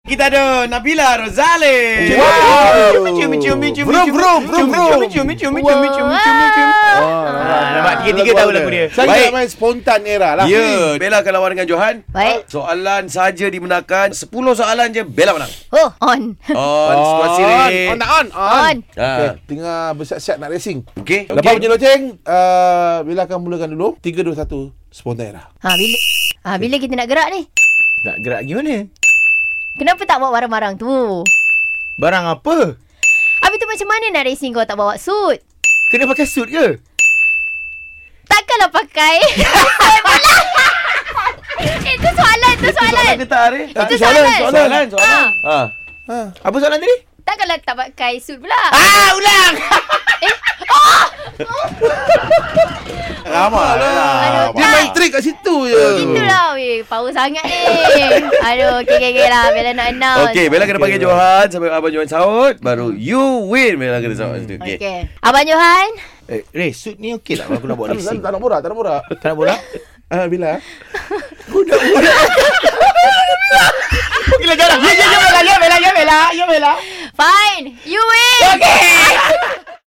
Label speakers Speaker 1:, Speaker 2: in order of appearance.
Speaker 1: Kita ada Nabila Rozali.
Speaker 2: Wow.
Speaker 1: Cium cium cium cium.
Speaker 2: Vroom, vroom, vroom, vroom.
Speaker 1: Cium cium cium cium cium cium cium cium.
Speaker 2: Oh,
Speaker 1: Ah, nampak tiga-tiga tahu lagu dia.
Speaker 3: Baik.
Speaker 2: Sangat main spontan era lah.
Speaker 3: Ya, yeah, Bella akan lawan dengan Johan.
Speaker 4: Baik.
Speaker 3: Soalan saja dimenangkan. 10 soalan je Bella menang.
Speaker 4: Oh, on.
Speaker 3: On, situasi ni.
Speaker 2: On, on, on.
Speaker 4: on.
Speaker 2: Okay,
Speaker 3: Ah,
Speaker 2: tengah bersiap-siap nak racing.
Speaker 3: okey.
Speaker 2: Okay. Lepas punya loceng, uh, Bila akan mulakan dulu. 3, 2, 1, spontan era.
Speaker 4: Ha, bila ha, bila kita nak gerak ni?
Speaker 1: Nak gerak gimana?
Speaker 4: Kenapa tak bawa barang-barang tu?
Speaker 1: Barang apa?
Speaker 4: Habis tu macam mana nak racing kau tak bawa suit?
Speaker 1: Kena pakai suit ke?
Speaker 4: Takkanlah pakai. Saya pula. Itu soalan, itu soalan.
Speaker 3: Soalan ke tak, Arif?
Speaker 4: Itu
Speaker 2: soalan,
Speaker 4: soalan.
Speaker 3: Soalan, soalan.
Speaker 4: Ah.
Speaker 3: Ha.
Speaker 2: Ha.
Speaker 1: Apa soalan tadi?
Speaker 4: Takkanlah tak pakai suit pula.
Speaker 1: Ah, ulang.
Speaker 4: Eh,
Speaker 3: Ramah lah.
Speaker 4: Aduh,
Speaker 2: Dia
Speaker 4: tak.
Speaker 2: main trick kat situ je.
Speaker 4: Itulah weh Power sangat ni Aduh Okay okay okay lah Bella nak announce
Speaker 3: Okey, Bella kena panggil Johan sampai Abang Johan sahut. Baru you win Bella kena sahut.
Speaker 4: okay.
Speaker 3: Okey.
Speaker 4: okay. Abang Johan
Speaker 1: Eh, Ray, suit ni okey tak kalau aku nak buat
Speaker 2: Tak nak-
Speaker 1: racing?
Speaker 2: Tak nak borak, tak nak borak.
Speaker 1: Tak nak bola?
Speaker 2: Ah, Bila?
Speaker 3: lah, ya.
Speaker 1: Gila jarang. Ya, ya, ya, Bella, ya, Bella, ya, Bella.
Speaker 4: Fine You win
Speaker 1: Okey.